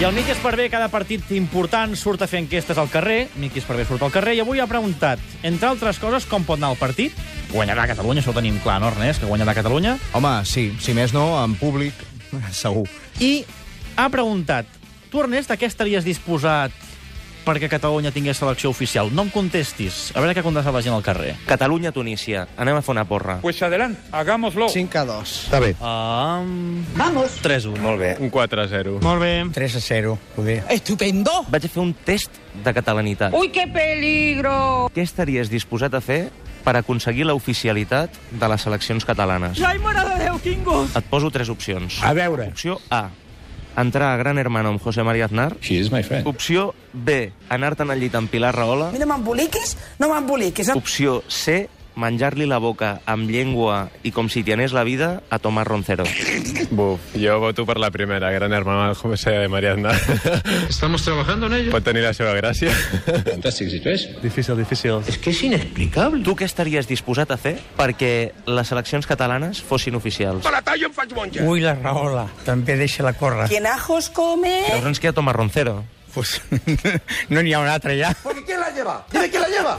I el Miqui Esparvé, cada partit important, surt a fer enquestes al carrer. Miqui Esparvé surt al carrer i avui ha preguntat, entre altres coses, com pot anar el partit. Guanyarà Catalunya, això ho tenim clar, no, Ernest? Que guanyarà Catalunya. Home, sí, si més no, en públic, segur. I ha preguntat, tu, Ernest, a què estaries disposat perquè Catalunya tingués selecció oficial? No em contestis. A veure què contesta la gent al carrer. Catalunya-Tunísia. Anem a fer una porra. Pues adelante, hagámoslo. 5 a 2. Està bé. Um... Vamos. 3-1. Molt bé. Un 4 a 0. 3 a 0, poder. Estupendo. Vaig a fer un test de catalanitat. Uy, qué peligro. Què estaries disposat a fer per aconseguir l'oficialitat de les seleccions catalanes? Ai, mare de Déu, quin gust. Et poso tres opcions. A veure. Opció A, entrar a Gran Hermano amb José María Aznar. She is my friend. Opció B, anar-te'n al llit amb Pilar Rahola. mi no m'emboliquis, no m'emboliquis. Opció C, menjar-li la boca amb llengua i com si t'hi anés la vida a Tomás Roncero. Buf, jo voto per la primera, gran hermana del José Mariana. Estamos trabajando en ello. Pot tenir Pues la seva gràcia. Fantàstic, si ves. Difícil, difícil. És que és inexplicable. Tu què estaries disposat a fer perquè les seleccions catalanes fossin oficials? Ui, la Rahola. També deixa-la córrer. Quien ajos come... Llavors ens queda Tomás Roncero. Pues, no n'hi ha un altre ja. ¿Quién la lleva? Dime quién la lleva.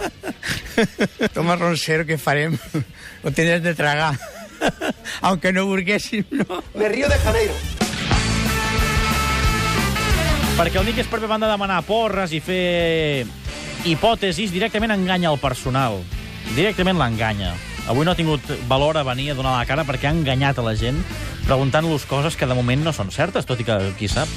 Toma Roncero, què farem? Ho tindràs de tragar. Aunque no burguéssim, no. Me río de Janeiro. Perquè el Miqui Esparvé van de demanar porres i fer hipòtesis, directament enganya el personal. Directament l'enganya. Avui no ha tingut valor a venir a donar la cara perquè ha enganyat a la gent preguntant-los coses que de moment no són certes, tot i que qui sap.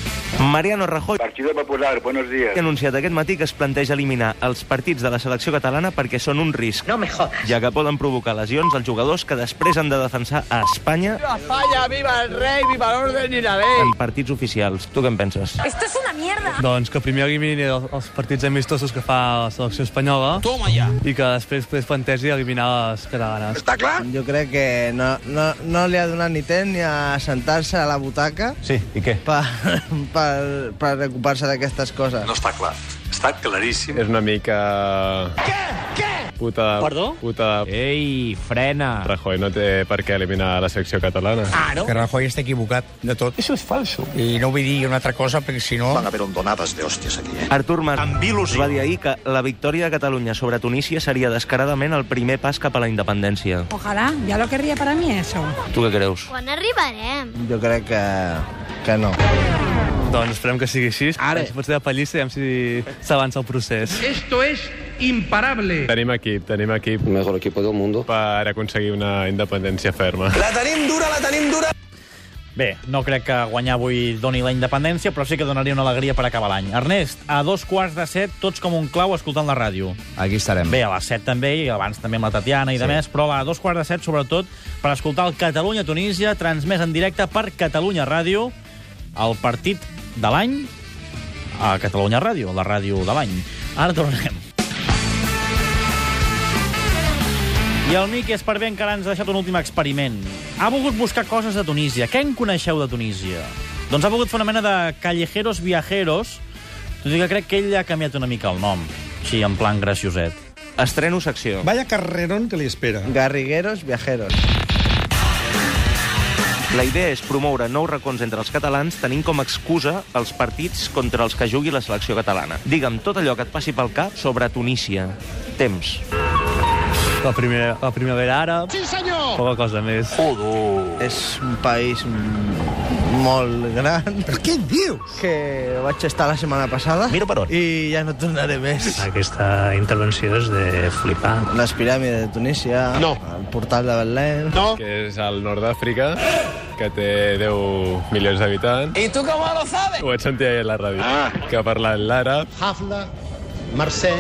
Mariano Rajoy Partido Popular, buenos ha días. anunciat aquest matí que es planteja eliminar els partits de la selecció catalana perquè són un risc, No me jodas. ja que poden provocar lesions als jugadors que després han de defensar a Espanya Falla, viva el rei, viva l'orden i la ley. en partits oficials. Tu què en penses? Esto es una mierda. Doncs que primer elimini els, els partits amistosos que fa la selecció espanyola Toma ya. i que després es plantegi eliminar les catalanes. ¿Está claro? Jo crec que no, no, no li ha donat ni temps ni a sentar-se a la butaca Sí, i què? per, per, per ocupar-se d'aquestes coses. No. està clar. Està claríssim. És una mica... Què? Què? Puta... Perdó? Puta... Ei, frena! Rajoy no té per què eliminar la secció catalana. Que Rajoy està equivocat de tot. Això és falso. I no vull dir una altra cosa, perquè si no... haver ondonadas de hòsties aquí, eh? Artur Mas Amb il·lusió. va dir ahir que la victòria de Catalunya sobre Tunísia seria descaradament el primer pas cap a la independència. Ojalá, ya lo querría para mí eso. Tu què creus? Quan arribarem? Jo crec que, que no. Doncs esperem que sigui així. Ara. Pots de pallissa i veiem si s'avança el procés. Esto es imparable. Tenim equip, tenim equip Mejor equipo del mundo. per aconseguir una independència ferma. La tenim dura, la tenim dura. Bé, no crec que guanyar avui doni la independència, però sí que donaria una alegria per acabar l'any. Ernest, a dos quarts de set, tots com un clau escoltant la ràdio. Aquí estarem. Bé, a les set també, i abans també amb la Tatiana i sí. de més, però a dos quarts de set, sobretot, per escoltar el Catalunya-Tunísia, transmès en directe per Catalunya Ràdio, el partit de l'any a Catalunya Ràdio, la ràdio de l'any. Ara tornem. I el Miqui Esparvé encara ens ha deixat un últim experiment. Ha volgut buscar coses de Tunísia. Què en coneixeu de Tunísia? Doncs ha volgut fer una mena de callejeros viajeros, tot i que crec que ell ha canviat una mica el nom. Sí, en plan gracioset. Estreno secció. Vaya carrerón que li espera. Garrigueros, viajeros. La idea és promoure nous racons entre els catalans tenint com a excusa els partits contra els que jugui la selecció catalana. Digue'm tot allò que et passi pel cap sobre Tunísia. Temps. La, primera, la primavera àrab. Sí, senyor! Poca cosa més. És un país mm, molt gran. Però què dius? Que vaig estar la setmana passada. Miro per on. I ja no tornaré més. Aquesta intervenció és de flipar. Les piràmides de Tunísia. No. El portal de Belém. No. Que és al nord d'Àfrica, que té 10 milions d'habitants. I tu com lo sabes? Ho vaig sentir ahir a la ràdio. Ah. Que parla l'àrab. Hafla, Mercè,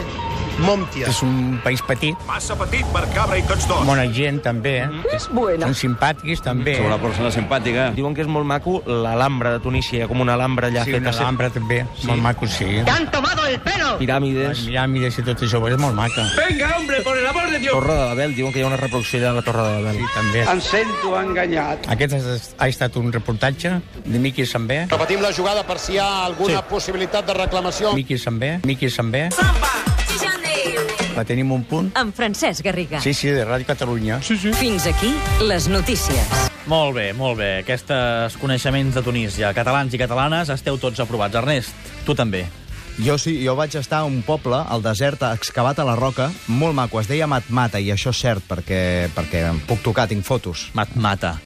Montia. És un país petit. Massa petit per cabra i tots dos. Bona gent, també. Eh? Mm. Es buena. Són simpàtics, també. Sobre Diuen que és molt maco l'Alhambra de Tunísia, hi ha com una Alhambra allà Sí, feta una sempre. alhambra, també. Sí. Molt maco, sí. han tomado el pelo. Piràmides, Miràmides i tot això, és molt maca. Venga, hombre, por el amor de Dios. Torre de Babel, diuen que hi ha una reproducció allà a la Torre de Babel. Sí, també. Ens sento enganyat. Aquest ha, ha estat un reportatge de Miqui Sambé. Repetim la jugada per si hi ha alguna sí. possibilitat de reclamació. Miqui Sambé. Miqui Sambé. La tenim un punt. Amb Francesc Garriga. Sí, sí, de Ràdio Catalunya. Fins aquí les notícies. Molt bé, molt bé. Aquestes coneixements de Tunísia. Catalans i catalanes, esteu tots aprovats. Ernest, tu també. Jo sí, jo vaig estar a un poble, al desert, excavat a la roca, molt maco. Es deia Matmata, i això és cert, perquè, perquè em puc tocar, tinc fotos. Matmata.